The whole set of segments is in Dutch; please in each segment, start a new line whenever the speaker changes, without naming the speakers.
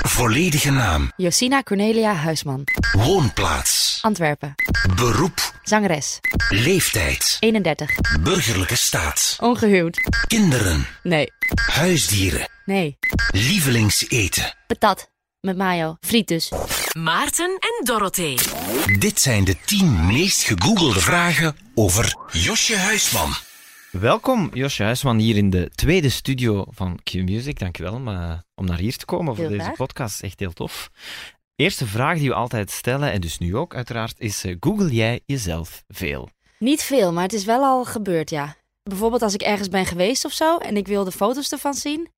volledige naam,
Josina Cornelia Huisman,
woonplaats,
Antwerpen.
beroep,
Zangeres,
leeftijd,
31.
burgerlijke staat,
Ongehuwd.
kinderen,
Nee,
huisdieren,
nee.
lievelingseten.
Patat. Met mayo. Friet dus.
Maarten en Dorothee.
Dit zijn de 10 meest gegoogelde vragen over Josje Huisman.
Welkom, Josje Huisman, hier in de tweede studio van Q-Music. Dankjewel om, eh, om naar hier te komen voor
Heel
deze
graag.
podcast. Echt heel tof. Eerste vraag die we altijd stellen, en dus nu ook uiteraard, is eh, google jij jezelf veel?
Niet veel, maar het is wel al gebeurd, ja. Bijvoorbeeld als ik ergens ben geweest of zo en ik wil de foto's ervan zien,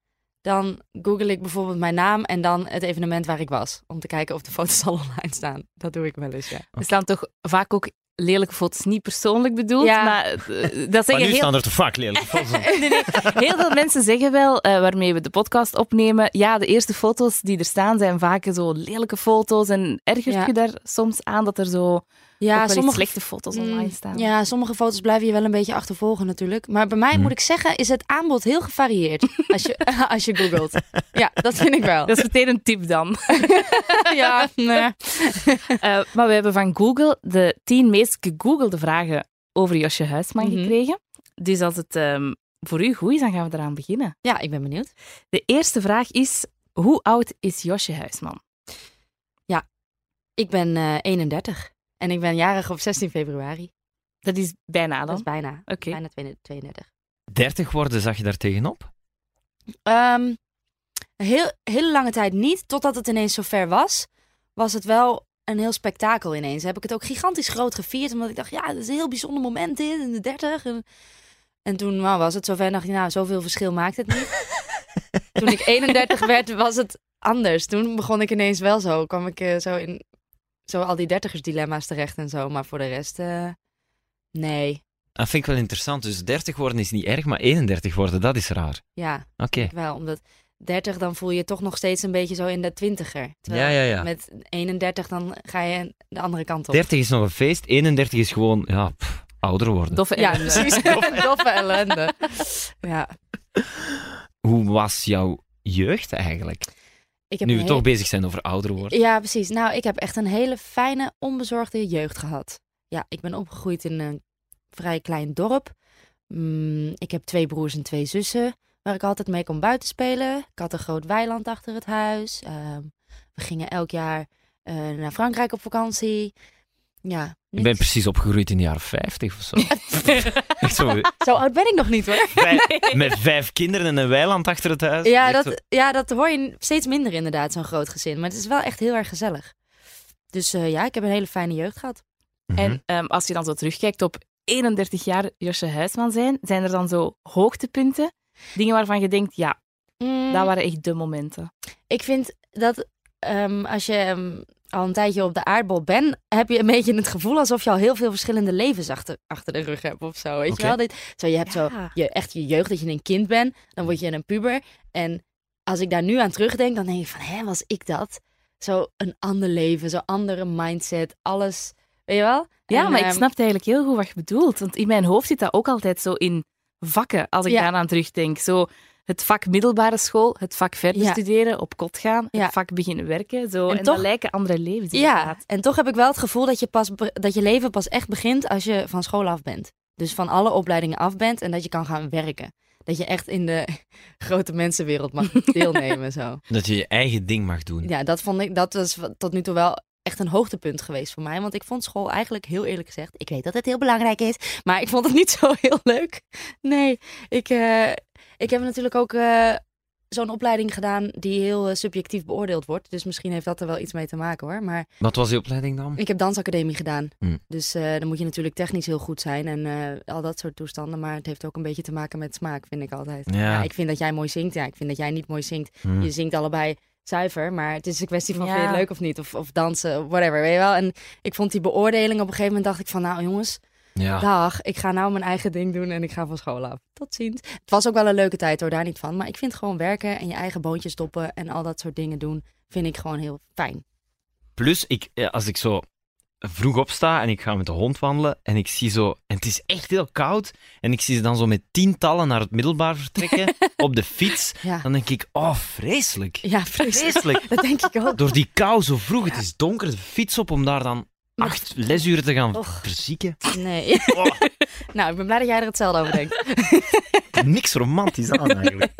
dan google ik bijvoorbeeld mijn naam en dan het evenement waar ik was. Om te kijken of de foto's al online staan. Dat doe ik wel eens, ja.
Er staan toch vaak ook lelijke foto's. Niet persoonlijk bedoeld,
Ja.
maar eh, dat
Maar
zeggen
nu
heel,
staan er te vaak lelijke foto's.
Nee, nee. heel veel mensen zeggen wel, eh, waarmee we de podcast opnemen, ja, de eerste foto's die er staan zijn vaak zo lelijke foto's. En ergert
Ja.
je daar soms aan dat er zo ook wel
Ja,
iets
sommige
slechte foto's online
Mm,
staan?
Ja, sommige foto's blijven je wel een beetje achtervolgen natuurlijk. Maar bij
Mm.
mij moet ik zeggen, is het aanbod heel gevarieerd als je, als je googelt. Ja, dat vind ik wel.
Dat is meteen een tip dan.
Ja, nee.
Eh, maar we hebben van Google de tien meest gegoogelde vragen over Josje Huisman
Mhm.
gekregen. Dus als het ehm, voor u goed is, dan gaan we eraan beginnen.
ja, ik ben benieuwd.
De eerste vraag is: hoe oud is Josje Huisman?
Ik ben eh, 31 en ik ben jarig op 16 februari.
Dat is bijna dan.
Dat is bijna,
Oké.
bijna 32.
30 worden zag je daar tegenop?
Ehm, heel, hele lange tijd niet, totdat het ineens zo ver was, was het wel een heel spektakel ineens. Heb ik het ook gigantisch groot gevierd, omdat ik dacht, ja, dat is een heel bijzonder moment dit, in de 30. En, en toen nou, was het zover en dacht ik, nou, zoveel verschil maakt het niet. toen ik 31 werd, was het anders. Toen begon ik ineens wel zo, kwam ik eh, zo in zo al die dertigersdilemma's terecht en zo. Maar voor de rest, eh, nee,
Dat vind ik wel interessant. Dus 30 worden is niet erg, maar 31 worden, dat is raar.
ja.
Oké.
Ik wel, omdat 30 dan voel je je toch nog steeds een beetje zo in de twintiger. Terwijl
Ja, ja, ja.
Met 31 dan ga je de andere kant op.
30 is nog een feest, 31 is gewoon ja, pff, ouder worden.
Doffe
Ja,
ellende.
precies. Doffe ellende. Ja.
Hoe was jouw jeugd eigenlijk?
Ik heb
Nu
een
we
hele-
toch bezig zijn over ouder worden.
Ja, precies. Nou, ik heb echt een hele fijne, onbezorgde jeugd gehad. Ja, ik ben opgegroeid in een vrij klein dorp. Mm, ik heb twee broers en twee zussen, waar ik altijd mee kon buiten spelen. Ik had een groot weiland achter het huis. Ehm, we gingen elk jaar eh, naar Frankrijk op vakantie. Ja,
Ik ben
niks.
precies opgegroeid in de jaren 50 of zo. Echt zo
Zo oud ben ik nog niet hoor.
vijf- met vijf kinderen en een weiland achter het huis.
Ja
Echt
dat, ja, dat hoor je steeds minder inderdaad, zo'n groot gezin. Maar het is wel echt heel erg gezellig. Dus eh, ja, ik heb een hele fijne jeugd gehad.
zo- Mhm.
En ehm, als je dan zo terugkijkt op 31 jaar Josje Huisman zijn, zijn er dan zo hoogtepunten? Dingen waarvan je denkt, ja,
Mm.
dat waren echt de momenten.
Ik vind dat ehm, als je ehm, al een tijdje op de aardbol bent, heb je een beetje het gevoel alsof je al heel veel verschillende levens achter, achter de rug hebt of zo. Weet
Oké.
je wel? Dit, zo, je hebt
Ja.
zo je, echt je jeugd dat je een kind bent, dan word je een puber. En als ik daar nu aan terugdenk, dan denk ik van, hè, was ik dat? Zo een ander leven, zo'n andere mindset, alles. Weet je wel?
Ja,
En,
maar ik
ehm,
snap eigenlijk heel goed wat je bedoelt. Want in mijn hoofd zit dat ook altijd zo in vakken, als ik
Ja.
daaraan terugdenk. Zo het vak middelbare school, het vak verder
Ja.
studeren, op kot gaan,
Ja.
het vak beginnen werken. Zo.
En
En,
toch-
dat lijken andere levens
Ja, en toch heb ik wel het gevoel dat je, pas, be- dat je leven pas echt begint als je van school af bent. Dus van alle opleidingen af bent en dat je kan gaan werken. Dat je echt in de grote mensenwereld mag deelnemen. Zo.
Mhm. Dat je je eigen ding mag doen.
Ja, dat vond ik, dat was wa- tot nu toe wel echt een hoogtepunt geweest voor mij. Want ik vond school eigenlijk, heel eerlijk gezegd, ik weet dat het heel belangrijk is, maar ik vond het niet zo heel leuk. Nee, ik, eh, ik heb natuurlijk ook eh, zo'n opleiding gedaan die heel eh, subjectief beoordeeld wordt. Dus misschien heeft dat er wel iets mee te maken hoor. Maar
Wat was die opleiding dan?
ik heb dansacademie gedaan.
Hmm.
Dus eh, dan moet je natuurlijk technisch heel goed zijn en eh, al dat soort toestanden. Maar het heeft ook een beetje te maken met smaak, vind ik altijd.
Ja.
ik vind dat jij mooi zingt. Ja, ik vind dat jij niet mooi zingt.
Hmm.
Je zingt allebei zuiver, maar het is een kwestie van
Ja.
vind je het leuk of niet. Of, of dansen, whatever, weet je wel. En ik vond die beoordeling op een gegeven moment dacht ik van... Nou jongens,
Ja.
dag, ik ga nou mijn eigen ding doen en ik ga van school af. Tot ziens. Het was ook wel een leuke tijd hoor, daar niet van. Maar ik vind gewoon werken en je eigen boontjes stoppen en al dat soort dingen doen... vind ik gewoon heel fijn.
Plus, ik, eh, als ik zo vroeg opsta en ik ga met de hond wandelen en ik zie zo... En het is echt heel koud en ik zie ze dan zo met tientallen naar het middelbaar vertrekken op de fiets.
Ja.
Dan denk ik, oh, vreselijk.
Ja, vreselijk.
Vreselijk.
Dat denk ik ook.
Door die kou zo vroeg, het is donker, de fiets op om daar dan
Maar-
acht lesuren te gaan
Och.
verzieken.
Nee.
Oh,
Nou, ik ben blij dat jij er hetzelfde over denkt.
niks romantisch aan eigenlijk.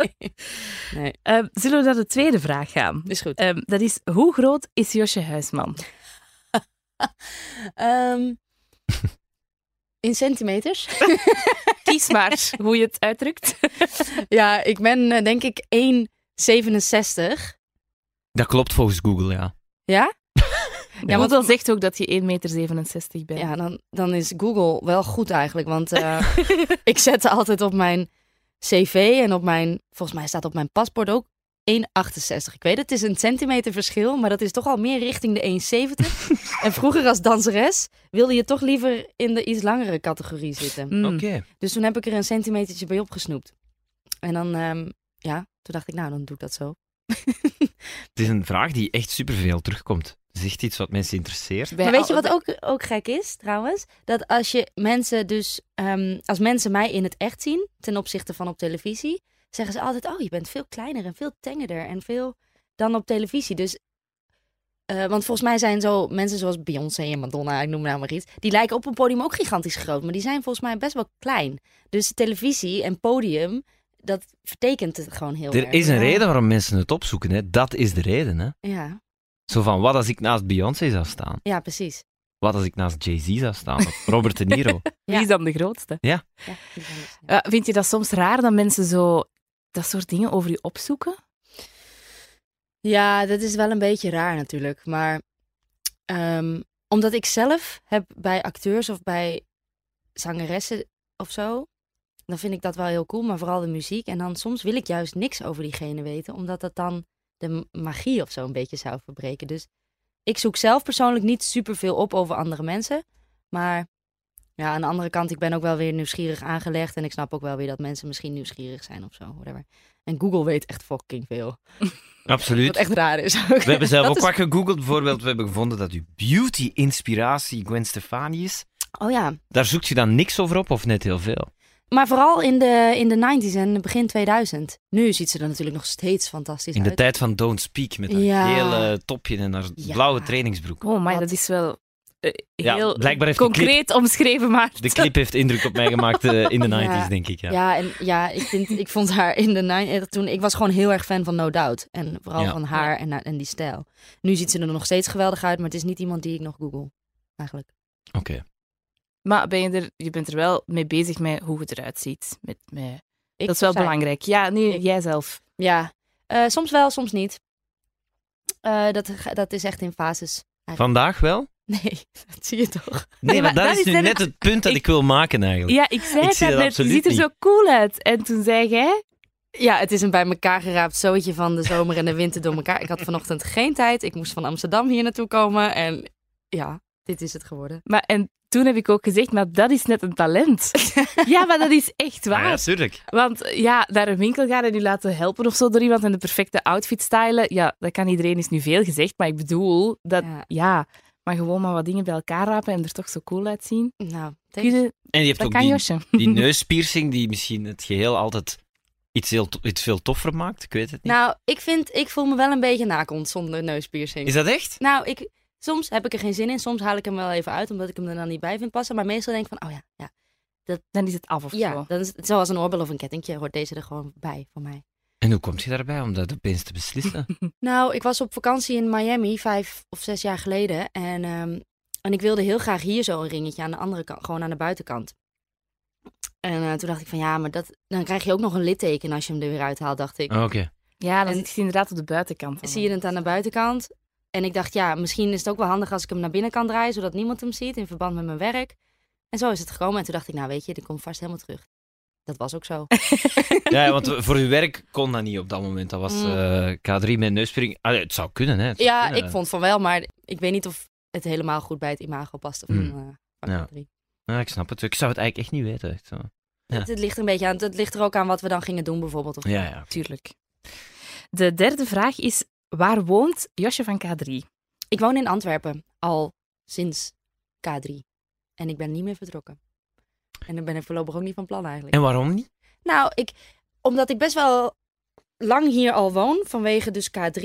Eh, zullen we naar de tweede vraag gaan?
Is goed.
Ehm, dat is, hoe groot is Josje Huisman?
Ehm, in centimeters?
Kies maar hoe je het uitdrukt.
Ja, ik ben eh, denk ik 1,67.
Dat klopt volgens Google, ja.
Ja?
Ja, want dan zegt ook dat je 1,67 meter bent.
Ja, dan, dan is Google wel goed eigenlijk. Want eh, ik zette altijd op mijn cv en op mijn... Volgens mij staat op mijn paspoort ook 1,68. Ik weet het, het is een centimeter verschil. Maar dat is toch al meer richting de 1,70. en vroeger als danseres wilde je toch liever in de iets langere categorie zitten.
Mm.
Oké.
Dus toen heb ik er een centimetertje bij opgesnoept. En dan, ehm, ja, toen dacht ik, nou, dan doe ik dat zo.
Het is een vraag die echt superveel terugkomt. Zegt iets wat mensen interesseert.
Bij
maar weet je
al-
wat ook, ook gek is trouwens? Dat als je mensen dus, ehm, als mensen mij in het echt zien ten opzichte van op televisie, zeggen ze altijd: Oh, je bent veel kleiner en veel tengerder en veel dan op televisie. Dus, eh, want volgens mij zijn zo mensen zoals Beyoncé en Madonna, ik noem nou maar iets, die lijken op een podium ook gigantisch groot, maar die zijn volgens mij best wel klein. Dus televisie en podium, dat vertekent het gewoon heel erg.
Er is een
Ja.
reden waarom mensen het opzoeken, hè. Dat is de reden, hè.
Ja,
Zo van, wat als ik naast Beyoncé zou staan?
ja precies.
Wat als ik naast Jay-Z zou staan? Of Robert De Niro?
Wie is dan de grootste?
Ja, die zijn dus-
Eh, vind je dat soms raar dat mensen zo dat soort dingen over je opzoeken?
Ja, dat is wel een beetje raar natuurlijk. Maar ehm, omdat ik zelf heb bij acteurs of bij zangeressen of zo, dan vind ik dat wel heel cool. Maar vooral de muziek. En dan soms wil ik juist niks over diegene weten, omdat dat dan de m- magie of zo een beetje zou verbreken. Dus ik zoek zelf persoonlijk niet superveel op over andere mensen. Maar ja, aan de andere kant, ik ben ook wel weer nieuwsgierig aangelegd. En ik snap ook wel weer dat mensen misschien nieuwsgierig zijn of zo, whatever. En Google weet echt fucking veel.
Absoluut.
Wat echt raar is.
We hebben zelf ook
is...
wat gegoogeld. Bijvoorbeeld, we hebben gevonden dat uw beauty-inspiratie Gwen Stefani is.
Oh ja.
Daar zoekt je dan niks over op of net heel veel?
Maar vooral in de, in de 90s en begin 2000. Nu ziet ze er natuurlijk nog steeds fantastisch
In de
uit.
tijd van Don't Speak, met dat
Ja.
hele topje en haar
Ja.
blauwe trainingsbroek.
Oh, maar
Wat?
dat is wel eh,
Ja,
heel
blijkbaar heeft de
concreet omschreven, maar
De clip heeft indruk op mij gemaakt eh, in de 90s,
Ja.
denk ik. Ja.
Ja, en, ja ik, vind, ik vond haar in de 90s. Toen, ik was gewoon heel erg fan van No Doubt. En vooral
Ja.
van haar en, en die stijl. Nu ziet ze er nog steeds geweldig uit, maar het is niet iemand die ik nog google. Eigenlijk.
Oké.
Maar ben je, er, je bent er wel mee bezig met hoe het eruit ziet. Met, met...
Ik
Dat is wel
zei-
belangrijk. Ja, nee,
Ik-
jijzelf.
Ja, Eh, soms wel, soms niet. Eh, dat, ga- dat is echt in fases.
Vandaag wel?
Nee, dat zie je toch?
Nee,
maar
maar dat
dat
is,
is
nu
net-
net het punt dat ik, wil maken eigenlijk.
Ja, ik zei
Ik
het
zie dat
daarnet. Je
absoluut
ziet er
niet.
zo cool uit. En toen zei jij...
Ja, het is een bij elkaar geraapt zootje van de zomer en de winter door elkaar. Ik had vanochtend geen tijd. Ik moest van Amsterdam hier naartoe komen. En ja, dit is het geworden.
Maar, en toen heb ik ook gezegd, maar dat is net een talent. ja, maar dat is echt
Ah,
waar.
ja, tuurlijk.
Want eh, ja, naar een winkel gaan en je laten helpen of zo door iemand en de perfecte outfit stylen, ja, dat kan iedereen is nu veel gezegd, maar ik bedoel dat, ja,
Ja.
maar gewoon maar wat dingen bij elkaar rapen en er toch zo cool uitzien.
Nou,
Kun je-
En je hebt
Dat
ook
kan
die,
Josje.
die neuspiercing die misschien het geheel altijd iets, heel, to- iets veel toffer maakt. Ik weet het niet.
nou ik, vind, ik voel me wel een beetje nakond zonder neuspiercing.
is dat echt?
Nou, ik, soms heb ik er geen zin in. Soms haal ik hem wel even uit, omdat ik hem er dan niet bij vind passen. Maar meestal denk ik van, oh ja, ja,
Dan is het af of
ja.
zo.
Dan is het zoals een oorbel of een kettingje. Hoort deze er gewoon bij voor mij.
En hoe kom je daarbij om dat opeens te beslissen?
Nou, ik was op vakantie in Miami vijf of zes jaar geleden. En, ehm, en ik wilde heel graag hier zo een ringetje aan de andere kant, gewoon aan de buitenkant. En eh, toen dacht ik van ja, maar dat, dan krijg je ook nog een litteken als je hem er weer uithaalt, dacht ik.
Ah, Oké.
Ja, dan
En-
zit je inderdaad op de buitenkant. van
Zie je
hem.
het aan de buitenkant? En ik dacht ja, misschien is het ook wel handig als ik hem naar binnen kan draaien, zodat niemand hem ziet in verband met mijn werk. En zo is het gekomen. En toen dacht ik, nou weet je, dit komt vast helemaal terug. Dat was ook zo.
Ja, want voor uw werk kon dat niet op dat moment. Dat was
Mm.
eh, K3 met neuspiering. Allee, het zou kunnen, hè? Het zou
Ja,
kunnen.
ik vond van wel, maar ik weet niet of het helemaal goed bij het imago past. Van,
Hmm.
eh van
Ja.
K3.
Ja, Ah, ik snap het. Ik zou het eigenlijk echt niet weten. echt zo. Ja.
Het, het ligt een beetje aan. Het ligt er ook aan wat we dan gingen doen, bijvoorbeeld. Of...
Ja, ja.
Tuurlijk. De derde vraag is, waar woont Josje van K3?
Ik woon in Antwerpen al sinds K3. En ik ben niet meer vertrokken. En dan ben ik voorlopig ook niet van plan eigenlijk.
En waarom niet?
Nou, ik, omdat ik best wel lang hier al woon, vanwege dus K3,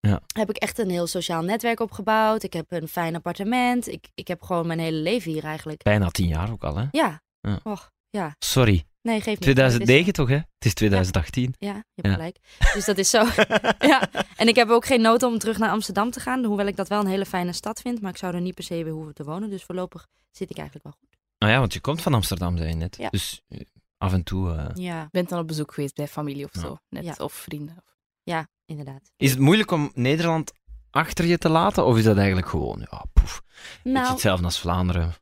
Ja.
heb ik echt een heel sociaal netwerk opgebouwd. Ik heb een fijn appartement. Ik, ik heb gewoon mijn hele leven hier eigenlijk.
Bijna tien jaar ook al, hè?
Ja.
Ja.
Och, ja.
Sorry.
Nee, geef niet.
2009 toch, hè? Het is 2018.
Ja, je hebt
dus- Ja.
gelijk. Dus dat is zo. ja. En ik heb ook geen nood om terug naar Amsterdam te gaan. Hoewel ik dat wel een hele fijne stad vind. Maar ik zou er niet per se weer hoeven te wonen. Dus voorlopig zit ik eigenlijk wel goed.
Nou ja, want je komt van Amsterdam, zei je net.
Ja.
Dus eh, af en toe... eh,
Ja,
bent dan op bezoek geweest bij familie of
Ja.
zo. Net,
Ja.
Of vrienden.
inderdaad.
Is het moeilijk om Nederland achter je te laten? Of is dat eigenlijk gewoon... Ja, poef. Beetje
Nou,
hetzelfde als Vlaanderen.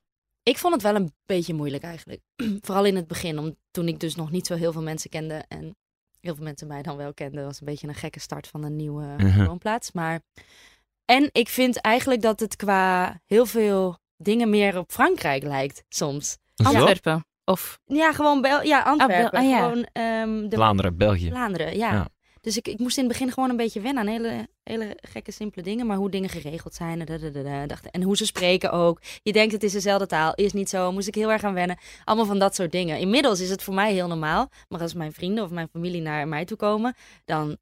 ik vond het wel een beetje moeilijk eigenlijk. Vooral in het begin. Om, toen ik dus nog niet zo heel veel mensen kende. En heel veel mensen mij dan wel kenden. was een beetje een gekke start van een nieuwe
Mhm.
woonplaats. Maar... En ik vind eigenlijk dat het qua heel veel dingen meer op Frankrijk lijkt soms.
Zo?
Antwerpen. Of
Ja, gewoon Bel ja, Antwerpen.
Bel- ah, ja.
Gewoon ehm, de
Vlaanderen, België.
Vlaanderen, ja.
Ja.
Dus ik, ik moest in het begin gewoon een beetje wennen aan hele, hele gekke, simpele dingen. Maar hoe dingen geregeld zijn, dadadada, dacht- en hoe ze spreken ook. Je denkt het is dezelfde taal, is niet zo, moest ik heel erg aan wennen. Allemaal van dat soort dingen. Inmiddels is het voor mij heel normaal. Maar als mijn vrienden of mijn familie naar mij toe komen, dan,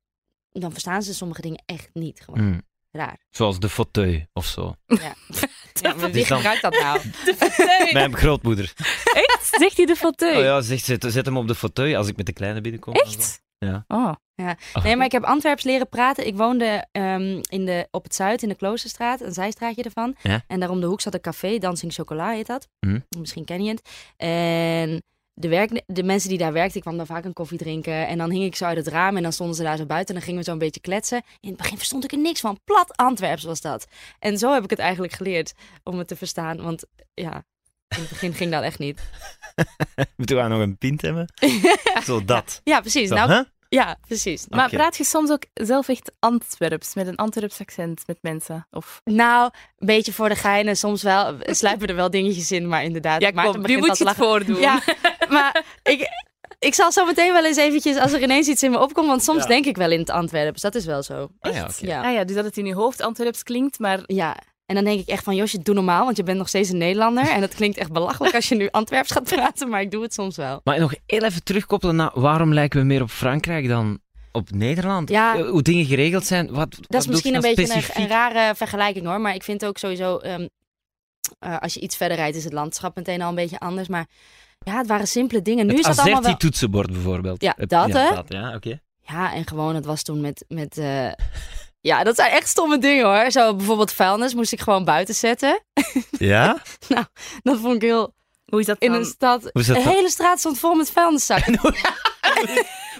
dan verstaan ze sommige dingen echt niet. Gewoon
Mm.
raar.
Zoals de fauteuil of zo.
Ja. Ja, maar wie
Dus dan-
gebruikt dat nou?
Mijn grootmoeder.
zegt hij de fauteuil?
Oh ja, zegt, zet, zet hem op de fauteuil als ik met de kleine binnenkom.
Echt?
Ja.
Oh.
Nee, maar ik heb Antwerps leren praten. Ik woonde ehm, in de, op het zuid, in de Kloosterstraat, een zijstraatje ervan.
Ja.
En daar om de hoek zat een café, Dancing Chocola heet dat.
Mhm.
Misschien ken je het. En de, werk, de mensen die daar werkten, ik kwam dan vaak een koffie drinken. En dan hing ik zo uit het raam en dan stonden ze daar zo buiten. En dan gingen we zo een beetje kletsen. In het begin verstond ik er niks van. Plat Antwerps was dat. En zo heb ik het eigenlijk geleerd om het te verstaan. Want ja, in het begin ging dat echt niet.
Moeten we daar nog een pint hebben? Zo dat.
Ja, precies.
Zo,
nou,
hè?
ja, precies.
Maar
Oké.
praat je soms ook zelf echt Antwerps, met een Antwerps accent met mensen? Of...
Nou, een beetje voor de gein en soms wel sluipen er wel dingetjes in, maar inderdaad. Maarten begint al te lachen.
voordoen.
Ja, maar ik, ik zal zo meteen wel eens eventjes, als er ineens iets in me opkomt, want soms
Ja.
denk ik wel in het Antwerps. Dat is wel zo.
Ah ja, oké.
Ja.
Ah ja, dus dat het in je hoofd Antwerps klinkt, maar
ja. En dan denk ik echt van, Josje, doe normaal, want je bent nog steeds een Nederlander. En dat klinkt echt belachelijk als je nu Antwerps gaat praten, maar ik doe het soms wel.
Maar nog heel even terugkoppelen naar waarom lijken we meer op Frankrijk dan op Nederland?
Ja.
Eh, Hoe dingen geregeld zijn? Wat,
Dat is misschien een beetje een, een rare vergelijking hoor. Maar ik vind ook sowieso, ehm, eh, als je iets verder rijdt, is het landschap meteen al een beetje anders. Maar ja, het waren simpele dingen. Nu
het
is dat allemaal wel...
toetsenbord bijvoorbeeld.
Ja,
Eh,
dat,
ja,
hè?
Dat, ja, oké.
Ja, en gewoon, het was toen met. met eh, Ja, dat zijn echt stomme dingen hoor. Zo bijvoorbeeld vuilnis moest ik gewoon buiten zetten.
Ja?
Dat vond ik heel.
hoe is dat
In
dan?
een stad.
is
De
dat dan?
hele straat stond vol met vuilniszakken.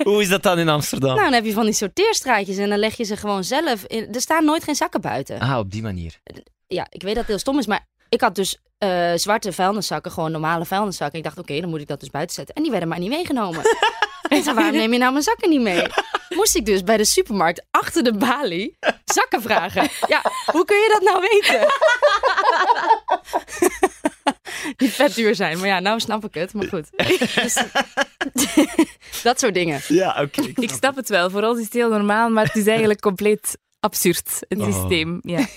Hoe is dat dan in Amsterdam?
Nou, dan heb je van die sorteerstraatjes en dan leg je ze gewoon zelf in. Er staan nooit geen zakken buiten.
Ah, op die manier.
Ja, ik weet dat het heel stom is, maar ik had dus eh, zwarte vuilniszakken, gewoon normale vuilniszakken. Ik dacht, oké, dan moet ik dat dus buiten zetten. En die werden maar niet meegenomen. Ik dacht, waarom neem je nou mijn zakken niet mee? Moest ik dus bij de supermarkt achter de balie zakken vragen. Ja, hoe kun je dat nou weten? Die vet duur zijn. Maar ja, nou snap ik het. Maar goed. Dus- dat soort dingen.
Ja, oké.
Ik snap het wel. Voor ons is het heel normaal, maar het is eigenlijk compleet absurd, het
Oh.
systeem. Ja.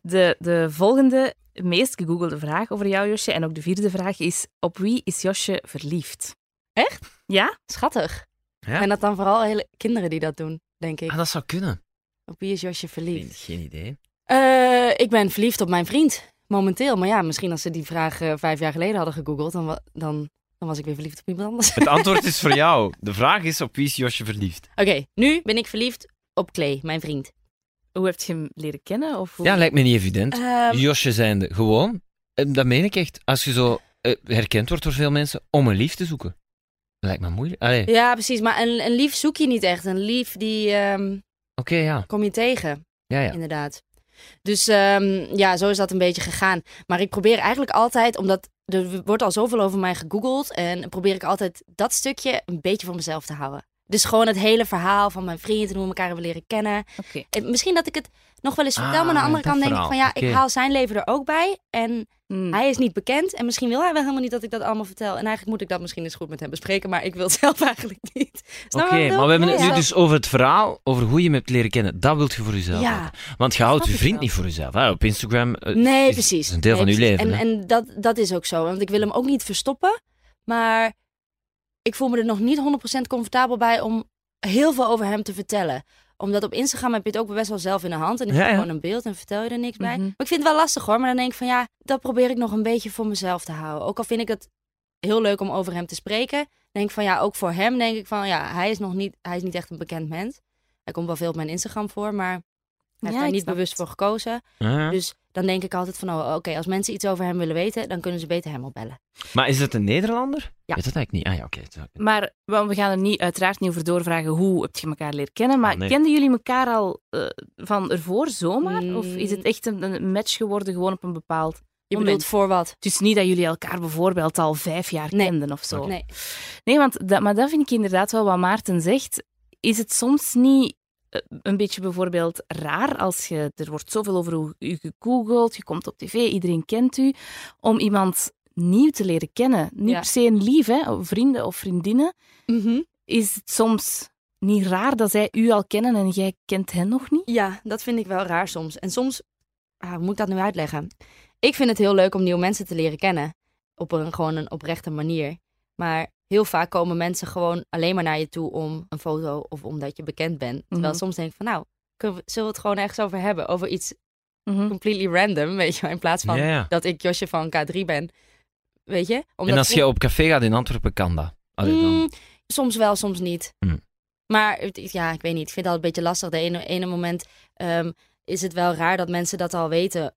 De, de volgende meest gegoogelde vraag over jou, Josje, en ook de vierde vraag is: op wie is Josje verliefd?
Echt?
Ja?
Schattig.
Ja.
En dat dan vooral hele kinderen die dat doen, denk ik.
Ah, dat zou kunnen.
Op wie is Josje verliefd?
Geen, geen idee.
Eh, ik ben verliefd op mijn vriend, momenteel. Maar ja, misschien als ze die vraag eh, vijf jaar geleden hadden gegoogeld, dan, wa- dan, dan was ik weer verliefd op iemand anders.
Het antwoord is voor jou. De vraag is op wie is Josje verliefd?
Oké, nu ben ik verliefd op Clay, mijn vriend.
Hoe heb je hem leren kennen? Of hoe...
Ja, lijkt me niet evident.
Ehm,
Josje zijnde, gewoon, eh, dat meen ik echt, als je zo eh, herkend wordt door veel mensen, om een lief te zoeken. Lijkt me moeilijk. Allee, oké,
ja, precies. Maar een, een lief zoek je niet echt. Een lief, die ehm,
ja.
kom je tegen,
Ja, ja.
inderdaad. Dus ehm, ja, zo is dat een beetje gegaan. Maar ik probeer eigenlijk altijd, omdat er wordt al zoveel over mij gegoogeld... en probeer ik altijd dat stukje een beetje voor mezelf te houden. Dus gewoon het hele verhaal van mijn vriend en hoe we elkaar hebben leren kennen.
Oké.
Eh, Misschien dat ik het nog wel eens
Ah,
vertel, maar aan de andere
dat
kant denk ik van
verhaal.
ja, ik
Oké.
haal zijn leven er ook bij. En
Hmm.
hij is niet bekend en misschien wil hij wel helemaal niet dat ik dat allemaal vertel. En eigenlijk moet ik dat misschien eens goed met hem bespreken, maar ik wil het zelf eigenlijk niet. Snap
Oké,
je wat ik bedoel?
maar we hebben
Ja,
het
ja.
nu dus over het verhaal, over hoe je hem hebt leren kennen. Dat wilt je voor jezelf
Ja.
houden. Want je houdt
Snap
je
ik
vriend
wel.
niet voor jezelf. Hè? Op Instagram eh,
Nee,
is-
precies.
is een deel
Nee,
van je
precies.
leven. hè?
En, en dat, dat is ook zo, want ik wil hem ook niet verstoppen. Maar ik voel me er nog niet 100% comfortabel bij om heel veel over hem te vertellen. Omdat op Instagram heb je het ook best wel zelf in de hand. En ik
Ja,
heb
ja.
gewoon een beeld en vertel je er niks bij.
Mhm.
Maar ik vind het wel lastig hoor. Maar dan denk ik van ja, dat probeer ik nog een beetje voor mezelf te houden. Ook al vind ik het heel leuk om over hem te spreken. Denk ik van ja, ook voor hem denk ik van ja, hij is nog niet, hij is niet echt een bekend mens. Hij komt wel veel op mijn Instagram voor, maar hij heeft
Ja,
daar
ik
niet
snap
bewust
het.
voor gekozen.
Ja.
Dus dan denk ik altijd van, oh, oké, als mensen iets over hem willen weten, dan kunnen ze beter hem opbellen.
Maar is het een Nederlander?
Ja.
Weet dat eigenlijk niet. Ah ja, oké. Zo.
Maar wel, we gaan er niet, uiteraard niet over doorvragen hoe heb je elkaar leren kennen. Maar
Ah, nee.
kenden jullie elkaar al eh, van ervoor zomaar? Of is
Mm.
het echt een, een match geworden gewoon op een bepaald...
Je
Moment.
bedoelt voor wat?
Het is niet dat jullie elkaar bijvoorbeeld al vijf jaar
Nee.
kenden of zo.
Nee.
Nee, want dat, maar dat vind ik inderdaad wel wat Maarten zegt. Is het soms niet eh, een beetje bijvoorbeeld raar als je... Er wordt zoveel over hoe- u gegoogeld, je komt op tv, iedereen kent u. Om iemand nieuw te leren kennen. Niet
Ja.
per se een lief, hè, of vrienden of vriendinnen.
Oh.
Mhm.
Is het soms niet raar dat zij u al kennen en jij kent hen nog niet?
Ja, dat vind ik wel raar soms. En soms, ah, hoe moet ik dat nu uitleggen? Ik vind het heel leuk om nieuwe mensen te leren kennen. Op een gewoon een oprechte manier. Maar heel vaak komen mensen gewoon alleen maar naar je toe om een foto of omdat je bekend bent. Terwijl
Mhm.
soms denk ik van, nou, kunnen we- zullen we het gewoon ergens over hebben? Over iets
Mhm.
completely random, weet je wel. In plaats van
Ja, ja.
dat ik Josje van K3 ben. Weet je? Omdat
En als
ik-
je op café gaat in Antwerpen, kan dat. Allee, dan.
Mm, soms wel, soms niet.
Mm.
Maar het- ja, ik weet niet. Ik vind dat een beetje lastig. De ene, ene moment ehm, is het wel raar dat mensen dat al weten.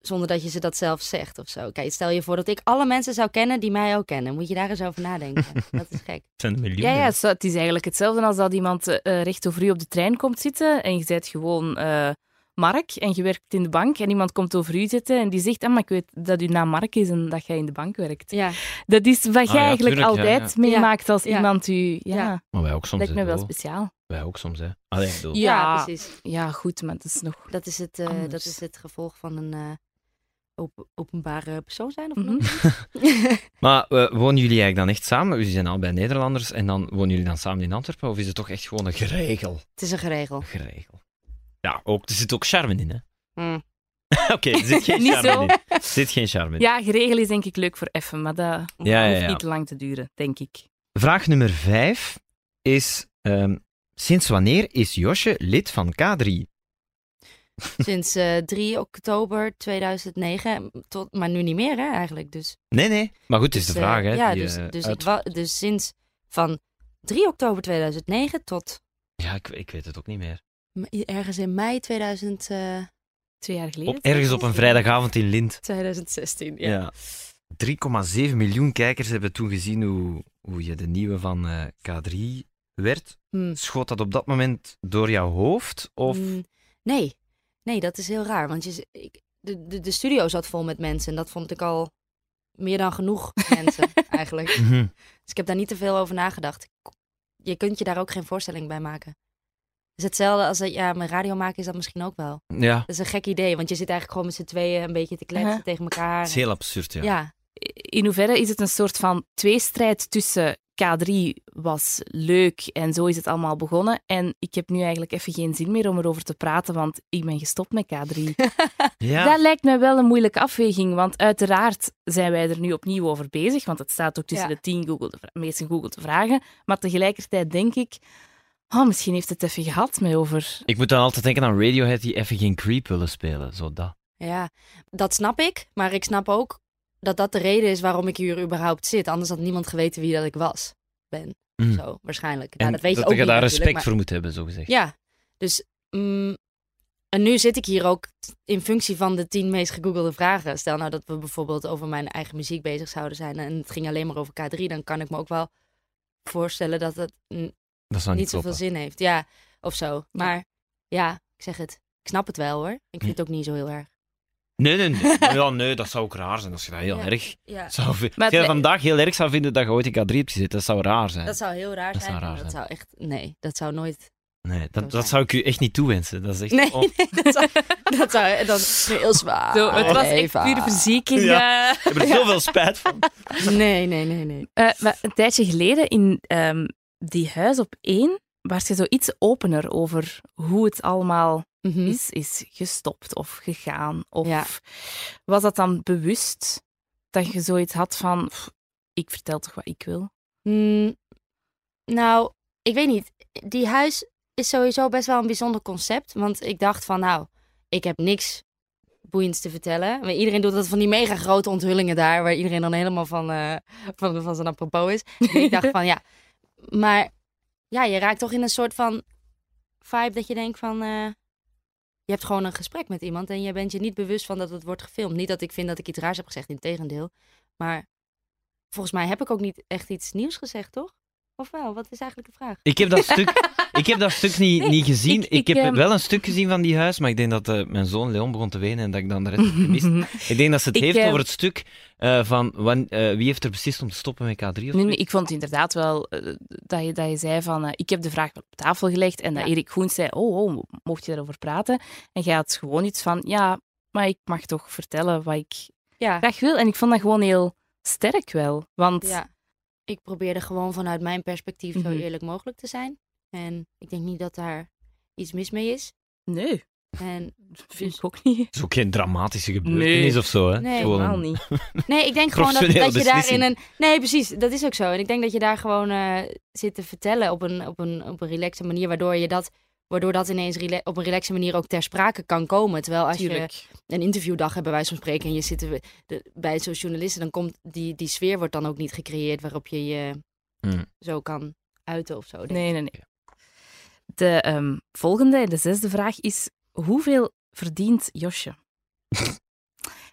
Zonder dat je ze dat zelf zegt of zo. Kijk, stel je voor dat ik alle mensen zou kennen die mij ook kennen. Moet je daar eens over nadenken. dat is gek.
Het zijn er miljoenen.
Ja, ja zo- het is eigenlijk hetzelfde als dat iemand eh, recht over u op de trein komt zitten en je bent gewoon eh, Mark en je werkt in de bank en iemand komt over u zitten en die zegt, ah, maar ik weet dat uw naam Mark is en dat jij in de bank werkt.
Ja,
Dat is wat
Ah,
jij
ja,
eigenlijk
tuurlijk, ja,
altijd meemaakt als
Ja.
iemand u... Ja,
Ja.
Maar wij ook soms.
lijkt
hè,
me wel
Doel.
speciaal.
Wij ook soms, hè. Allee, ik bedoel,
Ja.
ja. precies.
Ja, goed, maar dat is nog...
Dat is het, eh,
Anders.
dat is het gevolg van een eh, op- openbare persoon zijn. Of
Mhm.
mm
Maar eh, wonen jullie eigenlijk dan echt samen? Jullie zijn al bij Nederlanders en dan wonen jullie dan samen in Antwerpen? Of is het toch echt gewoon een geregel?
Het is een geregel.
geregel? Ja, ook, er zit ook charme in, hè?
Mm.
Oké, er zit geen
Niet
charme
zo.
in. Er zit geen charme in.
Ja, geregeld is denk ik leuk voor effen, maar dat
Ja, ja,
hoeft
ja.
niet lang te duren, denk ik.
Vraag nummer vijf is... ehm, sinds wanneer is Josje lid van K3?
Sinds eh, 3 oktober 2009. Tot, maar nu niet meer, hè, eigenlijk. Dus
Nee, nee. Maar goed, het is de
Dus, eh,
vraag, hè?
Ja,
die,
dus,
eh,
dus,
uit-
ik wa- dus sinds van 3 oktober 2009 tot
Ja, ik, ik weet het ook niet meer.
m- ergens in mei 2000, eh,
Twee jaar geleden.
Op, ergens op een vrijdagavond in Lind.
2016. Ja.
Ja. 3,7 miljoen kijkers hebben toen gezien hoe, hoe je de nieuwe van eh, K3 werd.
Hmm.
Schoot dat op dat moment door jouw hoofd? Of...
Mm, nee. nee, dat is heel raar. Want je, z- ik, de, de, de studio zat vol met mensen. En dat vond ik al meer dan genoeg mensen eigenlijk.
Mhm.
Dus ik heb daar niet te veel over nagedacht. Ik- Je kunt je daar ook geen voorstelling bij maken. Het is hetzelfde als dat, ja, mijn radio maken is dat misschien ook wel.
Ja,
Dat is een gek idee, want je zit eigenlijk gewoon met z'n tweeën een beetje te kletsen
Uh-huh.
tegen
het
elkaar.
is heel absurd. Ja.
ja,
in hoeverre is het een soort van tweestrijd tussen K3 was leuk en zo is het allemaal begonnen. En ik heb nu eigenlijk even geen zin meer om erover te praten, want ik ben gestopt met K3.
Ja.
Dat lijkt mij wel een moeilijke afweging, want uiteraard zijn wij er nu opnieuw over bezig, want het staat ook tussen
Ja.
de tien Google meest gegoogelde vragen. Maar tegelijkertijd denk ik, oh, misschien heeft het even gehad met over...
Ik moet dan altijd denken aan Radiohead die even geen creep willen spelen. Zo dat.
Ja, dat snap ik. Maar ik snap ook dat dat de reden is waarom ik hier überhaupt zit. Anders had niemand geweten wie dat ik was. Ben.
Mm.
Zo, waarschijnlijk.
en
Ja, dat weet je ook
je
niet
daar
natuurlijk,
respect
maar-
voor moet hebben, zo gezegd.
Ja, dus... mm, en nu zit ik hier ook t- in functie van de tien meest gegoogelde vragen. Stel nou dat we bijvoorbeeld over mijn eigen muziek bezig zouden zijn... en het ging alleen maar over K3, dan kan ik me ook wel voorstellen dat het mm,
Dat zou niet,
niet zoveel
kloppen.
zin heeft. Ja, of zo. Maar ja, ik zeg het. Ik snap het wel hoor. Ik vind het ook niet zo heel erg.
Nee, nee, nee. Maar ja, nee, dat zou ook raar zijn als je dat heel
Ja.
erg
Ja,
zou vinden.
Maar
Als je dat
het-
vandaag heel erg zou vinden dat je ooit in K3 hebt gezeten, dat zou raar zijn.
dat zou heel raar
Dat
zijn.
zou raar
dat
zijn.
zou echt... Nee, dat zou nooit...
Nee, dat,
zijn.
dat zou ik u echt niet toewensen. Dat is echt...
Nee,
oh.
nee, dat zou... Dat zou dat is heel zwaar.
Zo, het was echt
Ah, Eva.
puur verzekering. eh.
Ik heb er zoveel spijt van.
Nee, nee, nee, nee.
Eh, maar een tijdje geleden in ehm, die huis op één was je zo iets opener over hoe het allemaal
Mhm.
is, is gestopt of gegaan. Of
Ja.
was dat dan bewust dat je zoiets had van, "Pff, ik vertel toch wat ik wil?
Mm, nou, ik weet niet. Die huis is sowieso best wel een bijzonder concept. Want ik dacht van, nou, ik heb niks boeiends te vertellen. Maar iedereen doet dat van die mega grote onthullingen daar, waar iedereen dan helemaal van, eh, van, van zijn apropos is. En ik dacht van, ja, maar ja, je raakt toch in een soort van vibe dat je denkt van, eh, je hebt gewoon een gesprek met iemand en je bent je niet bewust van dat het wordt gefilmd. Niet dat ik vind dat ik iets raars heb gezegd, in tegendeel. Maar volgens mij heb ik ook niet echt iets nieuws gezegd, toch? Of wel? Wat is eigenlijk de vraag?
Ik heb dat stuk, ik heb dat stuk niet, niet gezien.
ik-
Ik,
ik,
heb
ehm,
wel een stuk gezien van die huis, maar ik denk dat eh, mijn zoon Leon begon te wenen en dat ik dan de rest heb gemist. Ik denk dat ze het
Ik,
heeft
eh,
over het stuk eh, van wan- eh, wie heeft er beslist om te stoppen met K3 of
Nee,
zoiets.
nee, ik vond inderdaad wel eh, dat, je, dat je zei van, eh, ik heb de vraag wel op tafel gelegd en dat
Ja.
Erik Goens zei, oh, oh, mocht je daarover praten? En jij had gewoon iets van, ja, maar ik mag toch vertellen wat ik
Ja,
graag wil. En ik vond dat gewoon heel sterk wel, want...
ja. ik probeerde gewoon vanuit mijn perspectief zo
Mhm.
eerlijk mogelijk te zijn. En ik denk niet dat daar iets mis mee is.
Nee,
En
vind ik ook niet.
Het is ook geen dramatische gebeurtenis
Nee.
of zo.
Nee,
Hè? Het is gewoon
Helemaal
een-
niet.
Nee, ik denk gewoon dat, dat
Professionele
je daar in
beslissing.
een. Nee, precies. Dat is ook zo. En ik denk dat je daar gewoon eh, zit te vertellen op een, op een, op een relaxe manier. Waardoor je dat. Waardoor dat ineens rela- op een relaxe manier ook ter sprake kan komen. Terwijl als
Tuurlijk.
je een interviewdag hebt bij wijze van spreken en je zit er- de- bij zo'n journalisten, dan komt die, die sfeer wordt dan ook niet gecreëerd waarop je je
Hmm.
zo kan uiten of zo. denk ik.
Nee, nee, nee. De ehm, volgende, de zesde vraag is: hoeveel verdient Josje?